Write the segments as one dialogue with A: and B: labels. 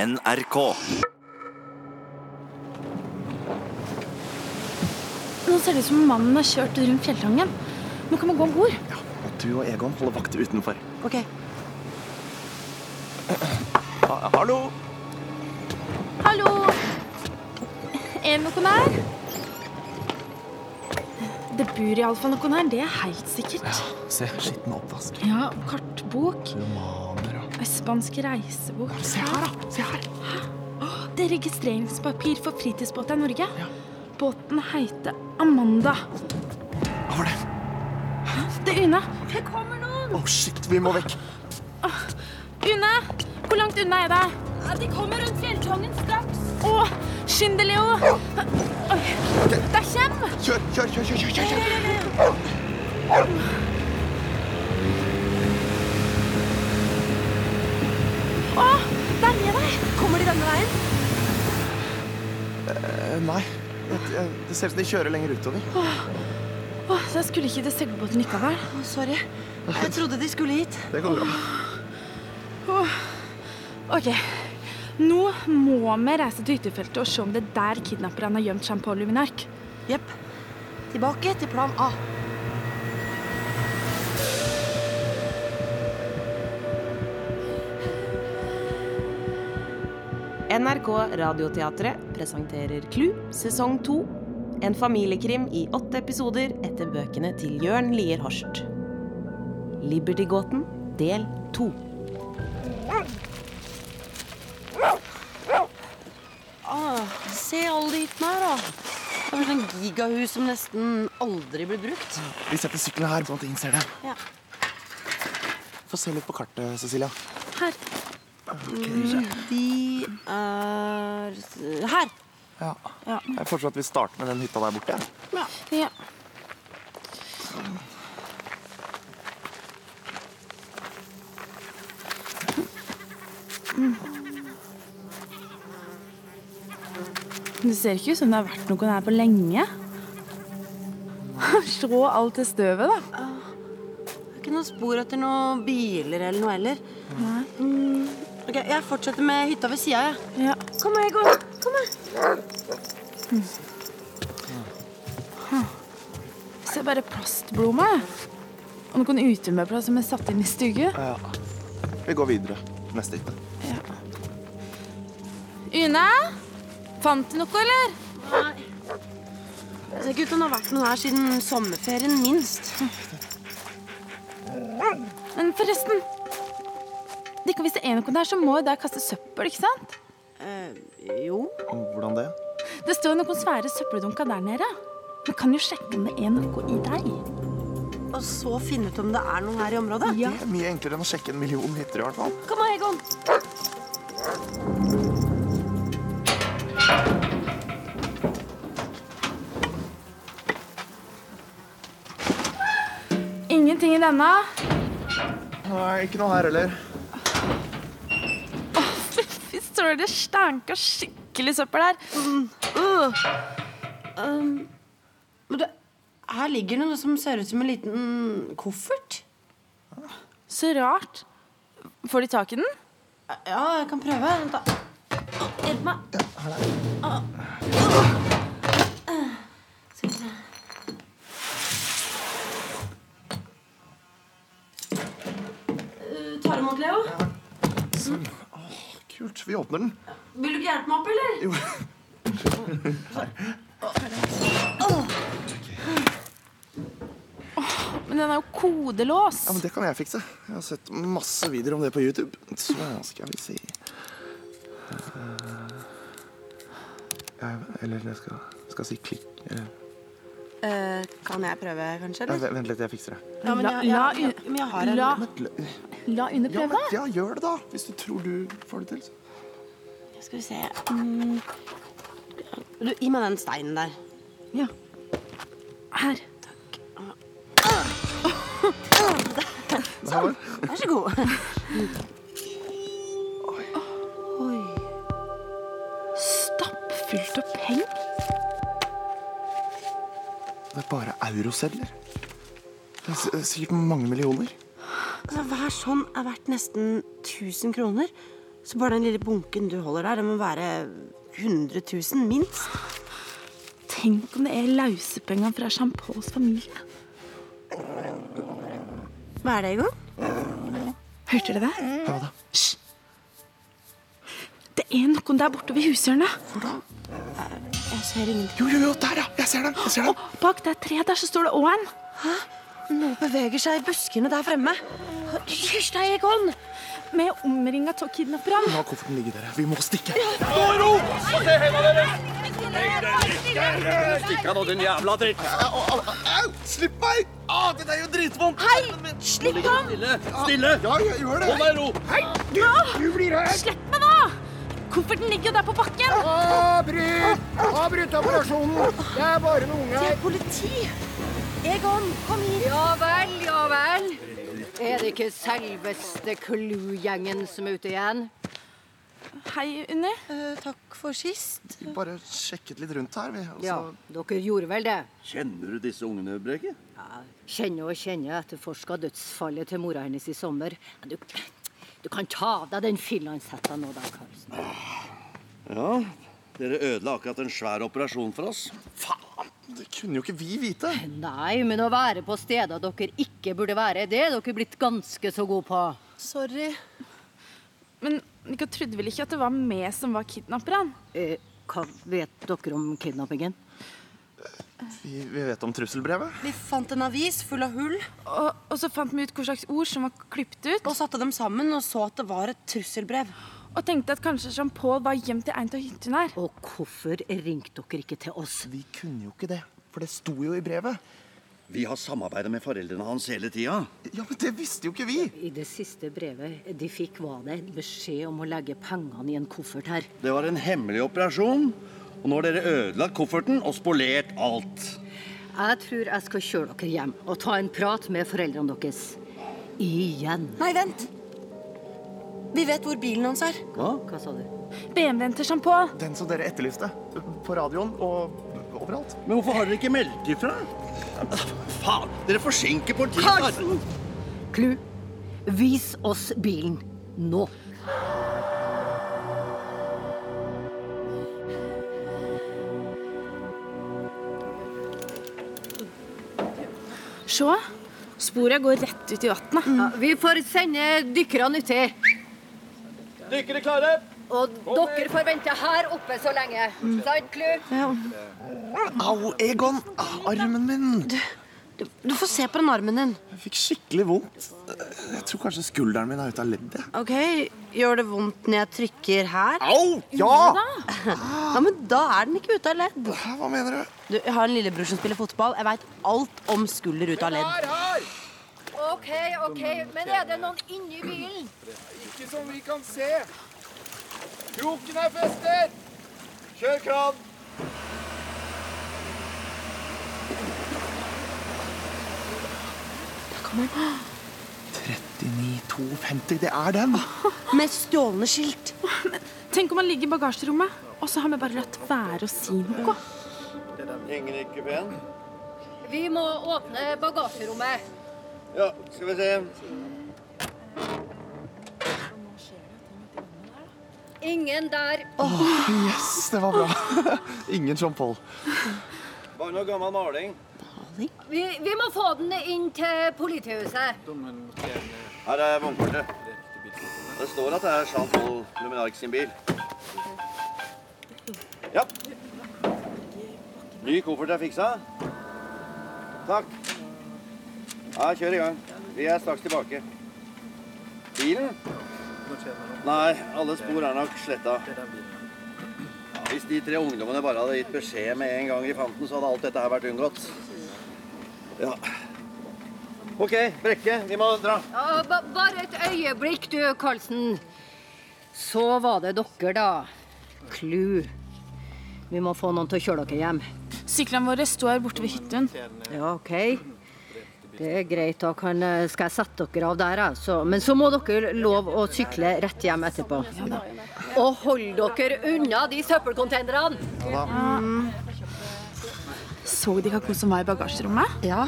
A: NRK.
B: Nå ser det ut som om mannen har kjørt rundt fjelltangen. Nå kan man gå om bord.
A: Og du og Egon holder vakt utenfor.
B: Ok.
A: Ha- Hallo!
B: Hallo! Er det noen her? Det bor iallfall noen her, det er helt sikkert.
A: Se, skitten oppvask.
B: Ja, kartbok.
A: Romaner og
B: Ei spansk reisebok.
A: Se her, da! Se her!
B: Det er registreringspapir for fritidsbåter i Norge. Båten heter Amanda.
A: Hva var det?
B: Det er Une. Det kommer noen!
A: Å, shit, vi må vekk.
B: Une! Hvor langt unna er det? De kommer rundt fjelltangen straks. Å, skynd deg, Leo. Oi, Der kommer
A: Kjør, kjør, kjør! kjør, kjør, kjør.
B: Å, der er de! Kommer de denne veien?
A: Eh, nei, det, det ser ut som de kjører lenger utover.
B: Å, så jeg skulle ikke til seilbåten likevel.
C: Sorry. Jeg trodde de skulle hit.
A: Det går bra.
B: Ok, nå må vi reise til hyttefeltet og se om det er der kidnapperne har gjemt Jean-Paul Luminark.
C: Jepp. Tilbake til plan A.
D: NRK Radioteatret presenterer Klu sesong to. En familiekrim i åtte episoder etter bøkene til Jørn Lier Horst. Libertygåten del to.
C: Ah, Se alle de hyttene her, da. Det er vel sånn gigahus som nesten aldri blir brukt.
A: Vi setter sykkelen her, sånn at ingen ser det.
C: Ja.
A: Få se litt på kartet, Cecilia.
B: Her.
C: De er her.
A: Ja.
C: Ja.
A: Jeg foreslår at vi starter med den hytta der borte. jeg.
B: Ja. Det ser ikke ut som det har vært noen her på lenge. Slå alt det støvet, da.
C: Det er ikke noe spor etter noen biler eller noe heller.
B: Nei.
C: Mm, Ok, Jeg fortsetter med hytta ved sida, jeg.
B: Ja.
C: Kom, Egon. Kom her.
B: Ser bare plastblomma. jeg. Og noen utemøbler som er satt inn i stygge.
A: Vi går videre. Neste hytte.
B: Une? Fant du noe, eller?
C: Det ser ikke ut som det Altså, har vært noen her siden sommerferien, minst.
B: Men forresten Dikka, hvis det er noen der, så må jo der kaste søppel, ikke sant?
C: Eh, jo.
A: Hvordan det?
B: Det står jo noen svære søppeldunker der nede. Men kan jo sjekke om det er noe i deg.
C: Og så finne ut om det er noen her i området.
B: Ja.
A: Det er mye enklere enn å sjekke en million hytter, i hvert fall.
C: Kom her, Egon.
B: Ingenting i denne.
A: Nei, ikke noe her heller.
B: Fy søren, det stanker skikkelig søppel her.
C: Øh. Um, men det, her ligger det noe som ser ut som en liten koffert.
B: Så rart. Får de tak i den?
C: Ja, jeg kan prøve. Vent da.
B: Hjelp meg.
C: Skal vi se. Øh, Tar imot, Leo.
A: Kult. Vi åpner den.
C: Vil du ikke hjelpe meg opp, eller?
A: Jo.
B: Men den er jo kodelås.
A: Ja, men Det kan jeg fikse. Jeg har sett masse videoer om det på YouTube. Så skal vi se Eh, Eller jeg skal, skal si klikk eh,
C: Eh, kan jeg prøve, kanskje?
A: nei, Vent vent litt, jeg fikser det.
C: Ja, men
B: La-
C: jeg,
B: la-
C: jeg, jeg, men jeg har en.
B: la,
A: Men, l-
B: la Une
A: ja,
B: prøve.
A: men, ja, gjør det, da. Hvis du tror du får det til. så.
C: Skal vi se. Mm. Du, gi meg den steinen der.
B: Ja. Her.
A: Sånn.
C: Vær så god. Oi.
B: Stappfullt av penger.
A: Det er bare eurosedler. Det er s- sikkert mange millioner.
C: Altså, hver sånn er verdt nesten 1000 kroner. Så bare den lille bunken du holder der, det må være 100 000 minst.
B: Tenk om det er lausepengene fra Champauls familie.
C: Hva er det, Egon?
B: Hørte dere det?
C: Mm.
A: Mm.
B: Hva da? Det er noen der borte ved hushjørnet.
C: Jeg ser ingenting.
A: Jo, jo, jo, der, ja! Jeg ser den! jeg ser den.
B: Bak det treet der så står det òg en.
C: Noe beveger seg i buskene der fremme.
B: Hysj deg, Egon! Vi er omringa av kidnappere.
A: La kofferten ligge der. Vi må stikke.
E: Stikk av nå, din jævla dritt!
A: Au, au, au! Slipp meg! Au, det er jo dritvondt!
B: Hei! Slipp ham!
E: Stille! Stille!
A: Ja, jeg gjør det.
E: Hold deg i ro!
A: Hei, du, du blir her!
B: Slipp meg, da! Kofferten ligger jo der på bakken.
A: Avbryt! Avbryt operasjonen! Det er bare noen unger her.
F: Egon, kom hit. Ja vel, ja vel. Er det ikke selveste Clue-gjengen som er ute igjen?
B: Hei, Unni.
C: takk for sist.
A: Vi bare sjekket litt rundt her, vi. og så-
F: Ja, dere gjorde vel det?
E: Kjenner du disse ungene, Breke?
F: Kjenner og kjenner etterforska dødsfallet til mora hennes i sommer. Men Du, du kan ta av deg den finlandshetta nå, da, Karlsen.
E: Ja. Dere ødela akkurat en svær operasjon for oss.
A: Faen, det kunne jo ikke vi vite.
F: Nei, men å være på steder dere ikke burde være, det er dere blitt ganske så gode på.
C: Sorry.
B: Men dere trodde vel ikke at det var vi som var kidnapperne?
F: Eh, hva vet dere om kidnappingen?
A: Vi, vi vet om trusselbrevet.
C: Vi fant en avis full av hull
B: Og, og så fant vi ut hva slags ord som var klippet ut,
C: og satte dem sammen og så at det var et trusselbrev.
B: og tenkte at kanskje Jean-Paul var gjemt i en av hyttene her.
F: Og hvorfor ringte dere ikke til oss?
A: Vi kunne jo ikke det, for det sto jo i brevet.
E: Vi har samarbeidet med foreldrene hans hele tida.
A: Ja, men det visste jo ikke vi.
F: I det siste brevet de fikk, var det en beskjed om å legge pengene i en koffert her.
E: Det var en hemmelig operasjon. Og nå har dere ødelagt kofferten og spolert alt.
F: Jeg tror jeg skal kjøre dere hjem og ta en prat med foreldrene deres. Igjen.
C: Nei, vent. Vi vet hvor bilen hans er.
F: Hva sa du?
B: BMW-en til Jean-Paul.
A: Den som dere etterlyste på radioen og overalt.
E: Men hvorfor har dere ikke meldt ifra? Faen! Dere forsinker politiet.
F: Karlsen! Klu, vis oss bilen. Nå.
B: Se. Sporet går rett ut i vannet.
F: Ja, vi får sende dykkerne uti.
E: Dykkere klare?
F: Og dere får vente her oppe så lenge. Sant, Klu?
A: Au, Egon! Au, armen min!
C: Du får se på den armen din.
A: Jeg fikk skikkelig vondt. Jeg tror kanskje skulderen min er ute av ledd. jeg.
C: Ok, Gjør det vondt når jeg trykker her?
A: Au! Ja!
C: Ja, men Da er den ikke ute av ledd.
A: Hæ, Hva mener du?
C: Du, Jeg har en lillebror som spiller fotball. Jeg veit alt om skulder ut av ledd.
F: OK, OK. Men er det noen inni bilen?
G: Ikke som vi kan se. Kroken er festet! Kjør kran!
A: Dini 250, det er den!
C: Med stjålne skilt.
B: Tenk om han ligger i bagasjerommet, og så har vi bare latt være å si noe.
E: Henger ikke ben?
F: Vi må åpne bagasjerommet.
E: Ja, skal vi se.
F: Ingen der.
A: Yes, det var bra. Ingen Jean-Paul.
E: Bare noe gammel maling.
F: Vi, vi må få den inn til politihuset.
E: Her er vognkortet. Det står at det er Jean Paul Luminark sin bil. Ja. Ny koffert er fiksa. Takk. Ja, kjør i gang. Vi er straks tilbake. Bilen? Nei, alle spor er nok sletta. Hvis de tre ungdommene bare hadde gitt beskjed med en gang de fant den, så hadde alt dette her vært unngått. Ja. OK, Brekke, vi må dra.
F: Ja, ba bare et øyeblikk, du, Karlsen. Så var det dere, da. Klu. Vi må få noen til å kjøre dere hjem.
B: Syklene våre står borte ved hytten.
F: Ja, OK. Det er greit, da kan, eh, skal jeg sette dere av der. jeg, Så, men så må dere lov å sykle rett hjem etterpå. Og hold dere unna de søppelcontainerne!
B: Så de hva som var i bagasjerommet?
C: Ja.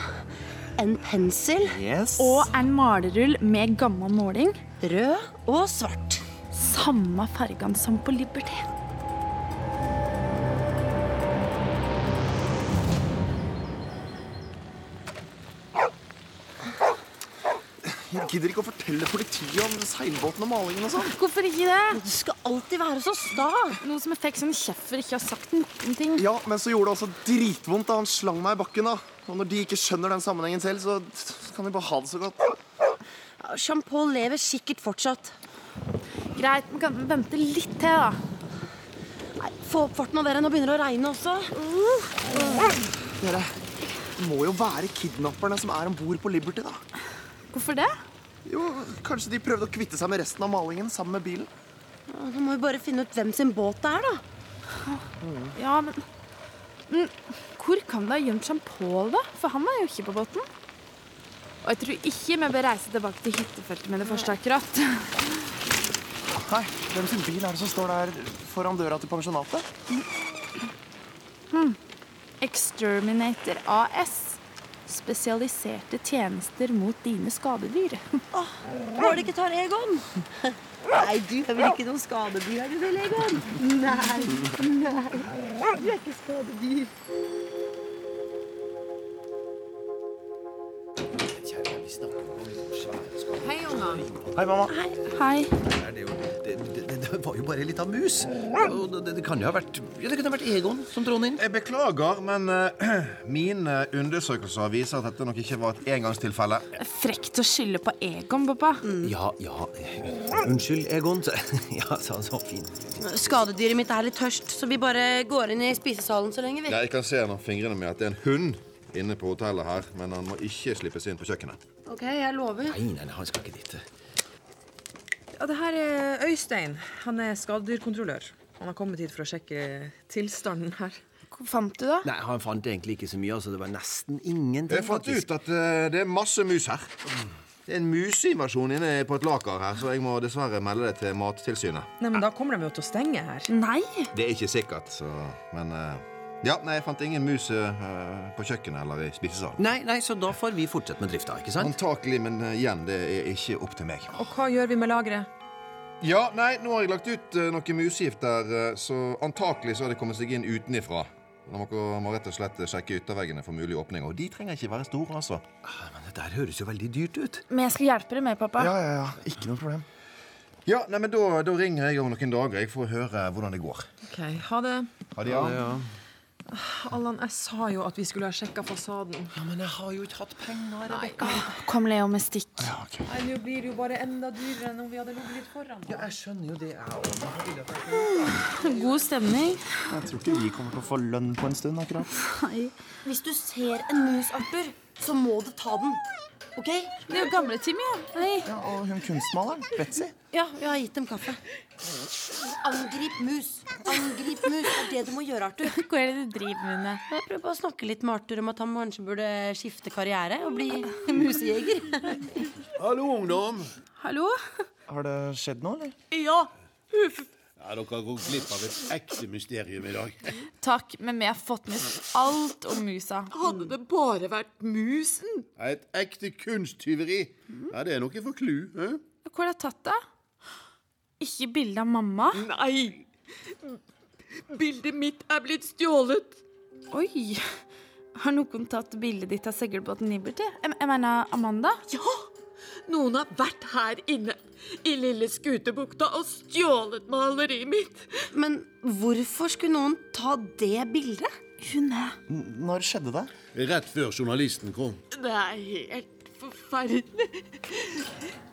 C: En pensel.
A: Yes.
B: Og en malerull med gammel måling.
C: Rød og svart.
B: samme fargene som på Liberty.
A: Jeg gidder ikke å fortelle politiet om seilbåten og malingen og sånn.
B: Hvorfor ikke det?
H: Du skal alltid være så sta.
B: Noe som jeg fikk sånn kjeft for ikke å ha sagt noen ting.
A: Ja, men så gjorde det også dritvondt da han slang meg i bakken, da. Og når de ikke skjønner den sammenhengen selv, så så kan de bare ha det så godt.
H: Jean-Paul lever sikkert fortsatt.
B: Greit, vi kan vente litt til, da.
H: Nei, Få opp farten av dere. Nå begynner det å regne også.
A: Dere det må jo være kidnapperne som er om bord på Liberty, da.
B: Hvorfor det?
A: Jo, kanskje de prøvde å kvitte seg med resten av malingen sammen med bilen?
H: Nå må vi bare finne ut hvem sin båt det er, da.
B: Ja, men, men Hvor kan det ha gjemt Jean-Paul, da? For han er jo ikke på båten. Og jeg tror ikke vi bør reise tilbake til hyttefeltet med det første, akkurat.
A: Nei, hvem sin bil er det som står der foran døra til pensjonatet?
B: Exterminator AS. Spesialiserte tjenester mot dine skadedyr.
H: Var det ikke tar Egon? Nei, du er vel ikke noen skadedyr, er du vel, Egon? Nei, nei. Du er ikke skadedyr.
E: Hei, unger.
A: Hei, mamma.
B: Hei.
E: Det, er jo- det, det, det, det var jo bare ei lita mus. Og det, det, det kan jo ha vært ja, Det kunne ha vært Egon som dronning.
I: Jeg beklager, men eh, mine undersøkelser viser at dette nok ikke var et engangstilfelle.
B: Frekt å skylde på Egon, pappa.
E: Ja, ja eh, Unnskyld, Egon. Ja, så, så fint.
C: Skadedyret mitt er litt tørst, så vi bare går inn i spisesalen så lenge, vi.
I: Jeg kan se gjennom fingrene mine at det er en hund inne på hotellet her, men han må ikke slippes inn på kjøkkenet.
C: Ok, jeg lover.
E: Nei, nei, nei, han skal ikke dit.
J: Ja, det her er Øystein. Han er skadedyrkontrollør. Han har kommet hit for å sjekke tilstanden her.
B: Hvor fant du det?
E: Nei, Han fant egentlig ikke så mye. altså Det var nesten ingenting.
I: Jeg fant ut at eh, det er masse mus her. Det er en museinvasjon inne på et laker her, så jeg må dessverre melde det til Mattilsynet.
J: Nei, men Da kommer de jo til å stenge her.
B: Nei.
I: Det er ikke sikkert, så Men eh, ja, nei, jeg fant ingen mus eh, på kjøkkenet eller i spisesalen.
E: Nei, nei, Så da får vi fortsette med drifta, ikke sant?
I: Antakelig, men eh, igjen, det er ikke opp til meg.
J: Og hva gjør vi med lageret?
I: Ja, nei, nå har jeg lagt ut eh, noe musgift der, eh, så antakelig så har det kommet seg inn utenifra. Dere må rett og slett eh, sjekke ytterveggene for mulig åpning, og de trenger ikke være store, altså.
E: Ah, Men Det der høres jo veldig dyrt ut.
B: Men jeg skal hjelpe deg med, pappa.
A: Ja, ja, ja. Ikke noe problem.
I: Ja, nei, men da, da ringer jeg om noen dager, jeg får høre hvordan det går.
J: Ok, Ha det.
I: Ha det, ja.
J: Allan, jeg sa jo at vi skulle ha sjekka fasaden.
E: Ja, Men jeg har jo ikke hatt penger. Rebecca.
B: Kom, Leo, med stikk.
J: Nei, Nå blir det jo bare enda dyrere enn om vi hadde ligget litt foran.
E: Ja, jeg skjønner jo det, jeg òg.
B: God stemning.
A: Jeg tror ikke vi kommer til å få lønn på en stund, akkurat.
H: Hvis du ser en mus, Arthur, så må du ta den. Ok?
B: Det er jo gamle Timmy, ja. Hei.
A: Ja, og hun kunstmaleren, Betzy.
H: Ja, jeg har gitt dem kaffe. Angrip mus. Angrip mus er det du må gjøre, Arthur.
B: Hva er det du driver med? Ned?
C: Jeg prøver bare å snakke litt med Arthur om at han kanskje burde skifte karriere og bli musejeger.
K: Hallo, ungdom.
B: Hallo?
A: Har det skjedd noe, eller?
K: Ja, dere har gått glipp av et ekte mysterium i dag.
B: Takk, men vi har fått med oss alt om musa.
L: Hadde det bare vært musen?
K: Et ekte kunsttyveri. Ja, det er noe for klu. Eh?
B: Hvor har de tatt det? Ikke bilde av mamma?
L: Nei. Bildet mitt er blitt stjålet.
B: Oi! Har noen tatt bildet ditt av seilbåten Liberty? Jeg, jeg mener Amanda?
L: Ja, noen har vært her inne i lille Skutebukta og stjålet maleriet mitt.
C: Men hvorfor skulle noen ta det bildet?
B: Hun er
A: N- Når skjedde det?
K: Rett før journalisten kom.
L: Det er helt forferdelig.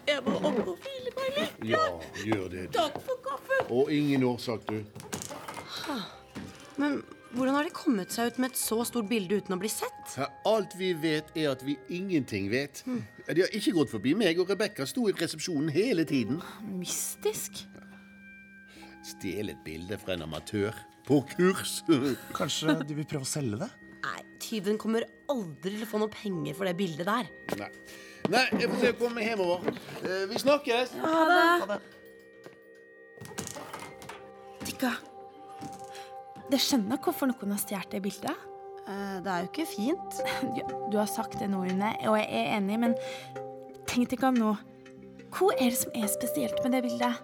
L: Jeg må opp og hvile meg litt.
K: Ja, gjør det.
L: Takk for kaffen.
K: Og ingen årsak, du.
C: Men hvordan har de kommet seg ut med et så stort bilde uten å bli sett?
K: Ja, alt vi vet, er at vi ingenting vet. De har ikke gått forbi meg, og Rebekka sto i resepsjonen hele tiden.
B: mystisk.
K: Stjele et bilde fra en amatør. På kurs.
A: Kanskje de vil prøve å selge det?
C: Nei, tyven kommer aldri til å få noe penger for det bildet der.
K: Nei. Nei, jeg får se å komme hjemover. Eh, Vi snakkes.
B: Tikka. Jeg skjønner hvorfor noen har stjålet det bildet.
C: Eh, det er jo ikke fint.
B: Du, du har sagt det nå, Une, og jeg er enig, men tenk deg om nå. Hva er det som er spesielt med det bildet?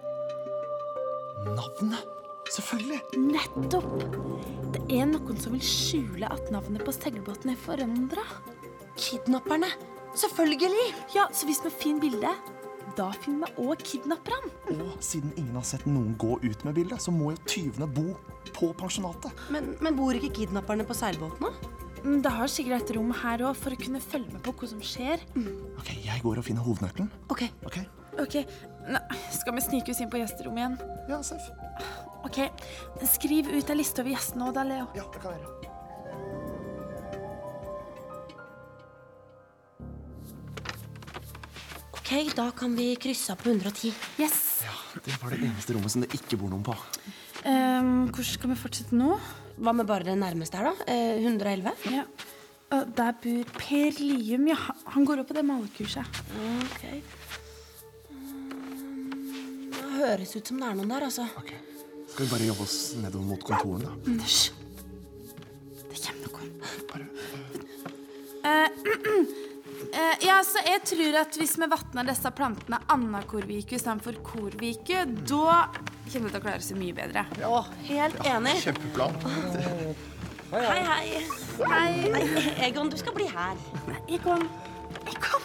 A: Navnet? Selvfølgelig.
B: Nettopp! Det er noen som vil skjule at navnet på seilbåten er forandra. Kidnapperne. Selvfølgelig! Ja, Så hvis vi finner bildet, da finner vi òg kidnapperne.
A: Og siden ingen har sett noen gå ut med bildet, så må jo tyvene bo på pensjonatet.
C: Men, men bor ikke kidnapperne på seilbåtene?
B: Mm, Det har sikkert et rom her òg, for å kunne følge med på hva som skjer.
A: Ok, Jeg går og finner hovednøkkelen.
B: Ok.
A: Ok.
B: Ok, Nei, Skal vi snike oss inn på gjesterommet igjen?
A: Ja, safe.
B: Ok, Skriv ut ei liste over gjestene òg, da, Leo.
A: Ja, det kan være.
C: Ok, Da kan vi krysse av på 110.
B: Yes.
A: Det var det eneste rommet som det ikke bor noen på.
B: Ehm, hvordan skal vi fortsette nå?
C: Hva med bare det nærmeste her, da? Eh, 111?
B: Ja. Å, der bor Per Lium, ja. Han- Han går opp på det malerkurset.
C: Ok. Ehm, Det høres ut som det er noen der, altså. Mm,
A: Skal vi bare jobbe oss nedover mot kontorene, da?
B: Hysj. Det kommer noen. Eh, eh, ja, så jeg tror at hvis vi vatner disse plantene anna-korviku istedenfor korviku, da kommer det til å klare seg mye bedre.
C: helt enig.
A: Kjempeplan.
C: Hei, hei.
B: Hei.
C: Egon, du skal bli her.
B: Egon.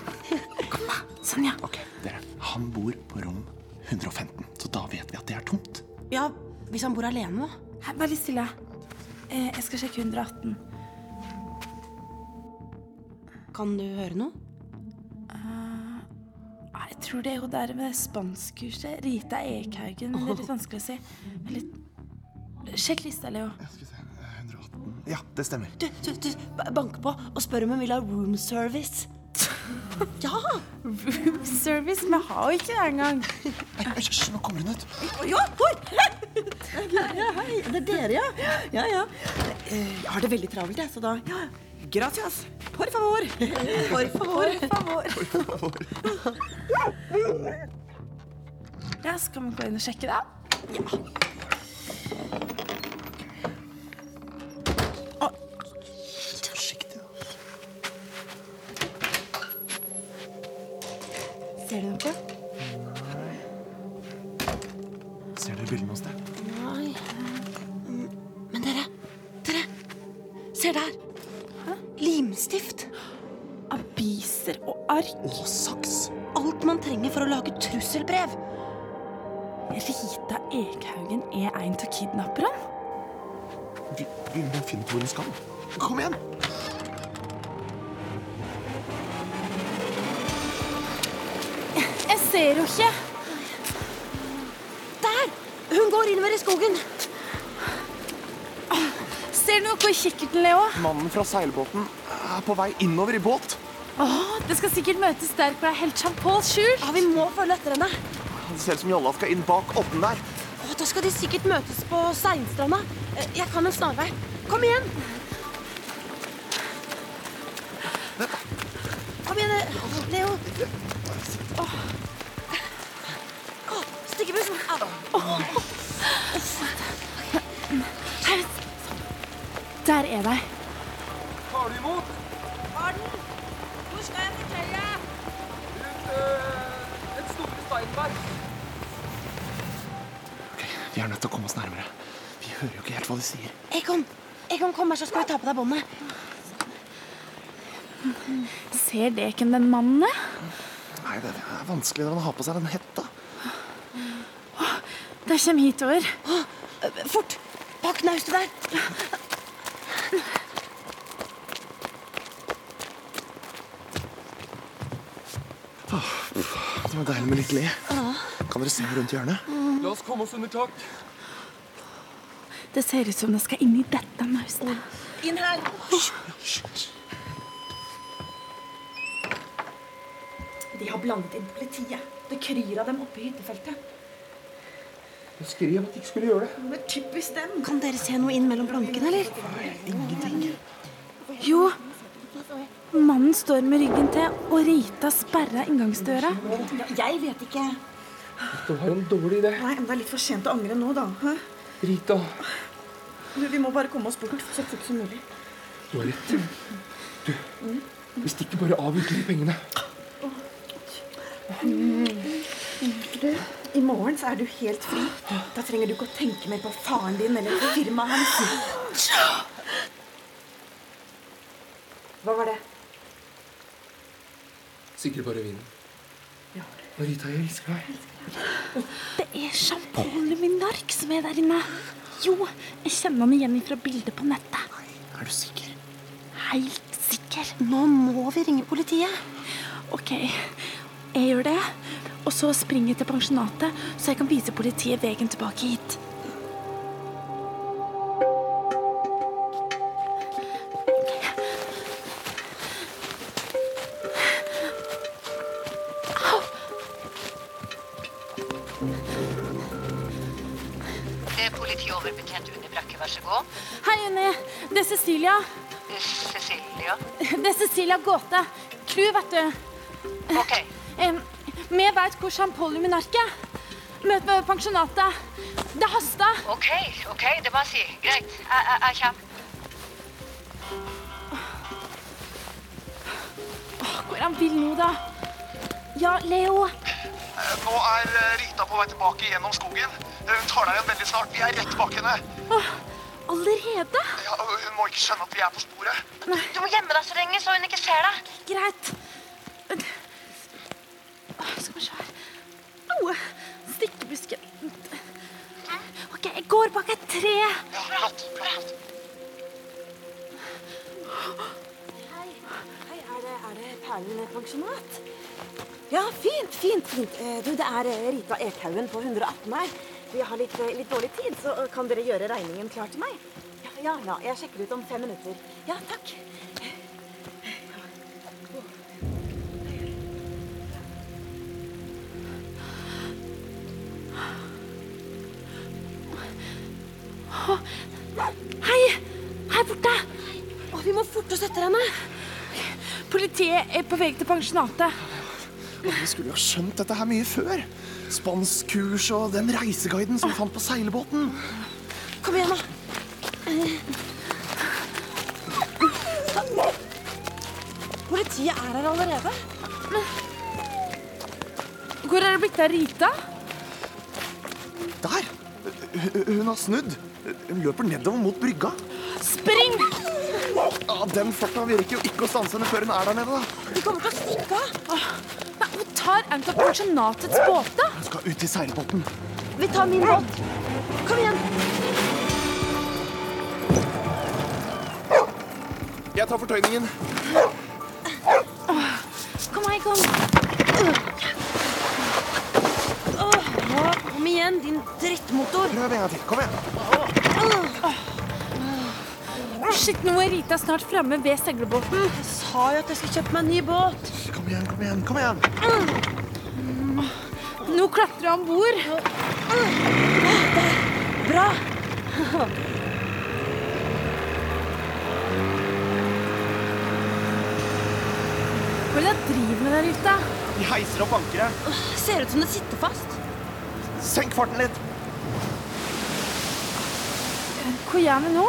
B: Sånn, ja.
A: Dere, han bor på rom 115, så da vet vi at det er tomt.
C: Ja, hvis han bor alene, da.
B: Hei, Vær litt stille. Eh, jeg skal sjekke 118.
C: Kan du høre noe?
B: Nei, Ah, Jeg tror det er hun der med spanskkurset. Rita Ekhaugen. men Det er litt vanskelig å si. Men Litt... Sjekk lista, Leo.
A: Eh, Ja, det stemmer.
C: Du, du, du, ba- bank på og spør om hun vil ha room service. Ja!
B: Room service? Vi har jo ikke det engang.
A: Hysj, nå kommer hun ut.
C: Ja, hvor? Ja, hei. Det er dere, ja? Ja, ja. Eh, Jeg har det veldig travelt, jeg, så da ja. Gracias. Por favor. For favor.
B: Ja, Skal vi gå inn og sjekke, da? Ser du noe?
A: Ser dere bildene hos deg?
C: Nei. Men dere, dere. Se der. Limstift.
B: Aviser og ark.
A: Og saks.
C: Alt man trenger for å lage trusselbrev.
B: Rita Ekhaugen er en av kidnapperne.
A: Vi, vi må finne ut hvor hun skal. Kom igjen!
B: Jeg ser jo ikke.
C: Der! Hun går innover i skogen.
B: Ser du noe i kikkerten, Leo?
A: Mannen fra seilbåten er på vei innover i båt.
B: Åh, det skal sikkert møtes der hvor det er helt Jean-Paul skjult.
C: Ja, vi må følge etter henne.
A: Det ser ut som Jalla skal inn bak odden der.
C: Å, da skal de sikkert møtes på Steinstranda. Eh, Jeg kan en snarvei. Kom igjen! Kom igjen, eh, Leo. Åh. Åh, Styggebussen! Au.
B: Her, der er de.
G: Tar du imot?
C: Hvor skal jeg fortelle?
G: Rundt øh, et store steinberg.
A: Vi er nødt til å komme oss nærmere. Vi hører jo ikke helt hva de sier.
C: Egon, Egon, kom her, så skal vi ta på deg båndet.
B: Ser det ikke den mannen er?
A: Nei, det er vanskelig når han har på seg den hetta.
B: De kommer hitover.
C: Fort! Bak naustet der.
A: Det var deilig med litt le. Kan dere se meg rundt hjørnet?
G: La oss komme oss under tak.
B: Det ser ut som de skal inn i dette nauset.
C: Inn her.
M: De har blandet inn politiet. Det kryr av dem oppe i hyttefeltet.
A: Jeg skrev at de ikke skulle gjøre det.
M: Men typisk dem.
C: Kan dere se noe inn mellom blankene, eller?
A: Ingenting.
B: Jo, mannen står med ryggen til, og Rita sperrer inngangsdøra.
M: Jeg vet ikke.
N: Det var en dårlig idé.
M: Nei, men det er litt for sent å angre nå, da. Hæ?
N: Rita,
M: Du, vi må bare komme oss bort så fort som mulig.
N: du har rett. Du, vi stikker bare av uten de pengene.
M: Mm. I morgen så er du helt fri. Da trenger du ikke å tenke mer på faren din eller firmaet hans. Hva var det?
O: Sikkert bare vinen. Marita, jeg elsker deg.
B: Det er sjamponen min nark som er der inne. Jo, jeg kjenner han igjen fra bildet på nettet.
O: Er du sikker?
B: Helt sikker. Nå må vi ringe politiet. OK, jeg gjør det. Og så springer jeg til pensjonatet, så jeg kan vise politiet veien tilbake hit.
P: Eh, Politioverbetjent Unni Brakke, vær så god.
B: Hei, Unni. Det er Cecilia.
P: Eh, Cecilia.
B: Det er Cecilia Gåte. Klu, vet du.
P: Ok.
B: Em, Vi vet hvor Champollion er. Møt med pensjonatet. Det haster.
P: Ok, ok, det må jeg si. Greit, jeg, jeg, jeg kommer.
B: Åh, Hvor han vil nå, da? Ja, Leo.
G: Eh, Nå er eh, Rita på vei tilbake gjennom skogen. Eh, Hun tar deg igjen veldig snart. Vi er rett bak henne.
B: Åh, allerede?
G: Ja, og hun må ikke skjønne at vi er på sporet.
P: Du må gjemme deg så lenge så hun ikke ser deg.
B: Greit. Åh, Skal vi se her. Au! Stikkebusken.
P: Hm?
B: OK, jeg går bak et tre.
M: Hei, er det, er det Perlen pensjonat? Ja, fint, fint, fint. Eh, Du, det er eh, Rita Ekhaugen på 118 her. Vi har litt, eh, litt dårlig tid, så eh, kan dere gjøre regningen klar til meg? Ja, ja, ja, jeg sjekker ut om fem minutter. Ja, takk.
B: Åh, Hei! Her borte! Åh, vi må forte oss etter henne. Politiet er på vei til pensjonatet.
A: Vi skulle jo ha skjønt dette her mye før. Spanskkurs og den reiseguiden som vi fant på seilbåten.
B: Kom igjen, da. Politiet er her allerede. Hvor er det blitt av Rita?
A: Der! Hun- Hun har snudd. Hun løper nedover mot brygga.
B: Spring!
A: Ja, den farta. Vi rekker jo ikke å stanse henne før hun er der nede. da.
B: De kommer til å stikke av. Åh, nei, Hun tar en av pensjonatets båter.
A: Hun skal ut i seilbåten.
B: Vi tar min båt. Kom igjen.
A: Jeg tar fortøyningen.
B: Kom, hei, kom. Åh, nå, kom igjen, din drittmotor.
A: Prøv en gang til. Kom igjen.
B: Shit, nå er Rita snart framme ved seilbåten. Jeg sa jo at jeg skulle kjøpe meg en ny båt.
A: Kom igjen, kom igjen. kom igjen.
B: Nå klatrer jeg om bord. Ah, Bra. Hva er det dere driver med der ute?
A: Vi heiser opp ankeret.
B: Ser ut som det sitter fast.
A: Senk farten litt.
B: Hva gjør vi nå?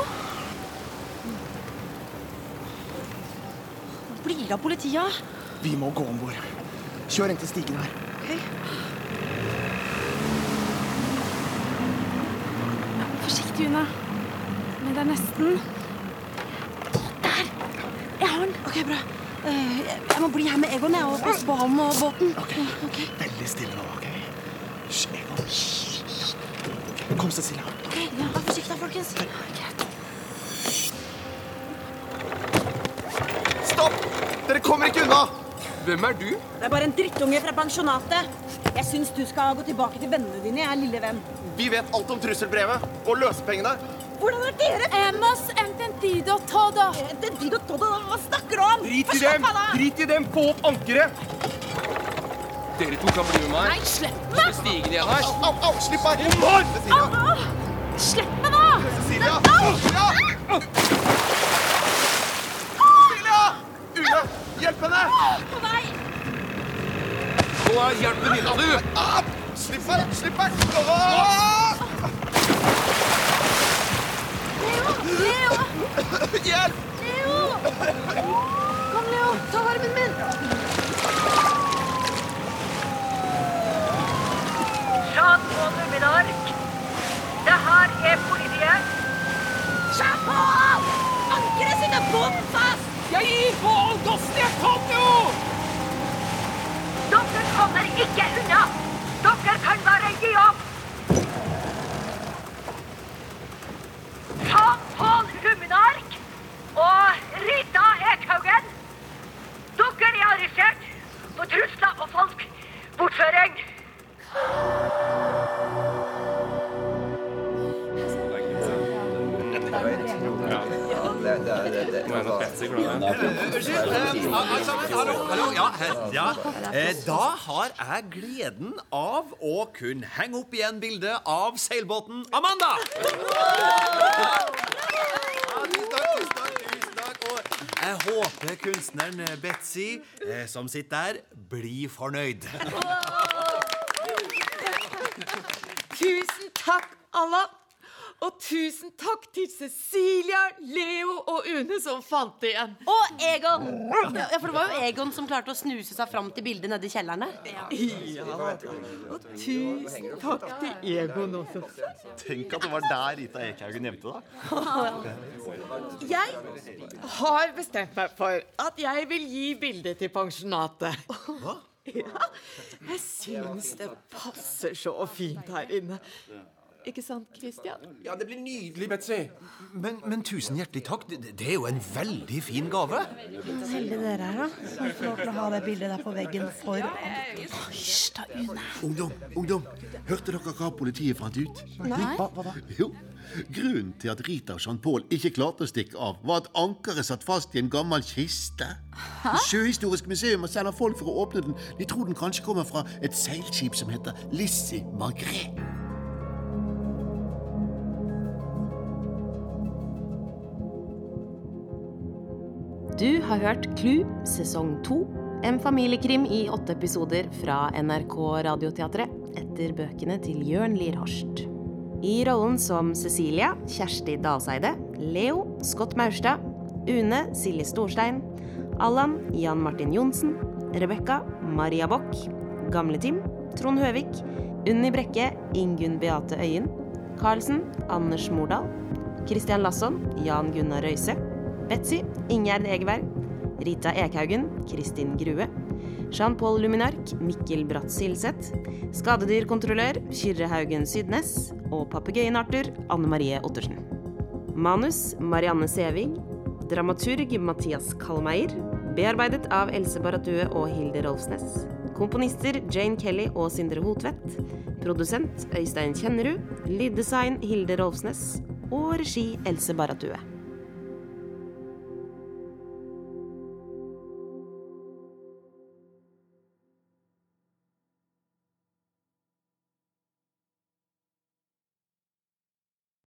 C: Blir av politiet.
A: Vi må gå om bord. Kjør inn til stigen her.
B: Forsiktig unna. Men det er nesten. Der! Jeg har den.
C: Ok, bra. Eh, jeg- Jeg må bli her med Egon jeg, og passe på ham og båten. Ok.
A: Veldig stille nå. ok? Hysj, Egon. Hysj. Kom, Cecilia.
C: Ok, ja, Vær forsiktig, da, folkens.
A: Stopp! Dere kommer ikke unna!
O: Hvem er du?
C: Det er bare en drittunge fra pensjonatet. Jeg syns du skal gå tilbake til vennene dine, jeg, lille venn.
A: Vi vet alt om trusselbrevet og løsepengene.
C: Hvordan er dere?
B: Hemos entendido todo.
C: Entendido todo? Hva snakker du om?
O: Drit i
C: Hva
O: dem!
C: slapp av, da!
O: Drit i dem! Få opp ankeret! Dere to kan bli med meg.
B: Nei, slipp
O: meg! Stigen igjen her.
A: Au, au, slipp meg!
B: Au, au. Slipp meg, da!
A: Cecilia!
B: Au!
A: Cecilia! Cecilia! Une, hjelp henne!
B: På vei!
O: Nå er hjelpen inna, du!
A: Ah, Slipp meg! Slipp meg! Ah!
B: Leo! Leo!
A: Hjelp!
B: Leo! Kom, Leo. Ta armen min.
A: Alle sammen, hallo, hallo, ja, he- ja. Eh, Da har jeg gleden av å kunne henge opp igjen bildet av seilbåten Amanda! Jeg håper kunstneren Betzy, eh, som sitter der, blir fornøyd.
J: Tusen takk, alle. Og tusen takk til Cecilia, Leo og Une som fant det igjen.
C: Og Egon! Ja, for det var jo Egon som klarte å snuse seg fram til bildet nede i kjelleren
J: Ja. Og tusen takk til Egon også.
Q: Tenk at det var der Rita Ekhaugen gjemte deg.
J: Jeg har bestemt meg for at jeg vil gi bildet til pensjonatet. Hva? Ja, jeg syns det passer så fint her inne. Ikke sant, Christian?
A: Ja, det blir nydelig, Betsy. Men, men tusen hjertelig takk. Det, det er jo en veldig fin gave.
R: Så heldige dere er, da. Som får lov til å ha det bildet der på veggen for Hysj, da, Une.
K: Ungdom, ungdom, hørte dere hva politiet fant ut?
R: Nei.
K: Hva, hva da? Jo, Grunnen til at Rita og Jean-Paul ikke klarte å stikke av, var at ankeret satt fast i en gammel kiste. Sjøhistorisk museum og selger folk for å åpne den. De tror den kanskje kommer fra et seilskip som heter Lissi Margret.
C: Du har hørt Klu sesong to, en familiekrim i åtte episoder fra NRK Radioteatret etter bøkene til Jørn Lier Horst. I rollen som Cecilia, Kjersti Dalseide, Leo, Scott Maurstad, Une, Silje Storstein, Allan, Jan Martin Johnsen, Rebekka, Maria Bock, Gamle-Tim, Trond Høvik, Unni Brekke, Ingunn Beate Øyen, Karlsen, Anders Mordal, Christian Lasson, Jan Gunnar Røise, Betsy, Ingjerd Egeberg, Rita Ekhaugen, Kristin Grue, Jean-Paul Luminark, Mikkel Bratt Silseth, skadedyrkontrollør Kyrre Haugen Sydnes og papegøyen Arthur Anne Marie Ottersen. Manus Marianne Sævig. Dramaturg Mathias Kalmeier. Bearbeidet av Else Baratue og Hilde Rolfsnes. Komponister Jane Kelly og Sindre Hotvedt. Produsent Øystein Kjennerud. Lyddesign Hilde Rolfsnes. Og regi Else Baratue.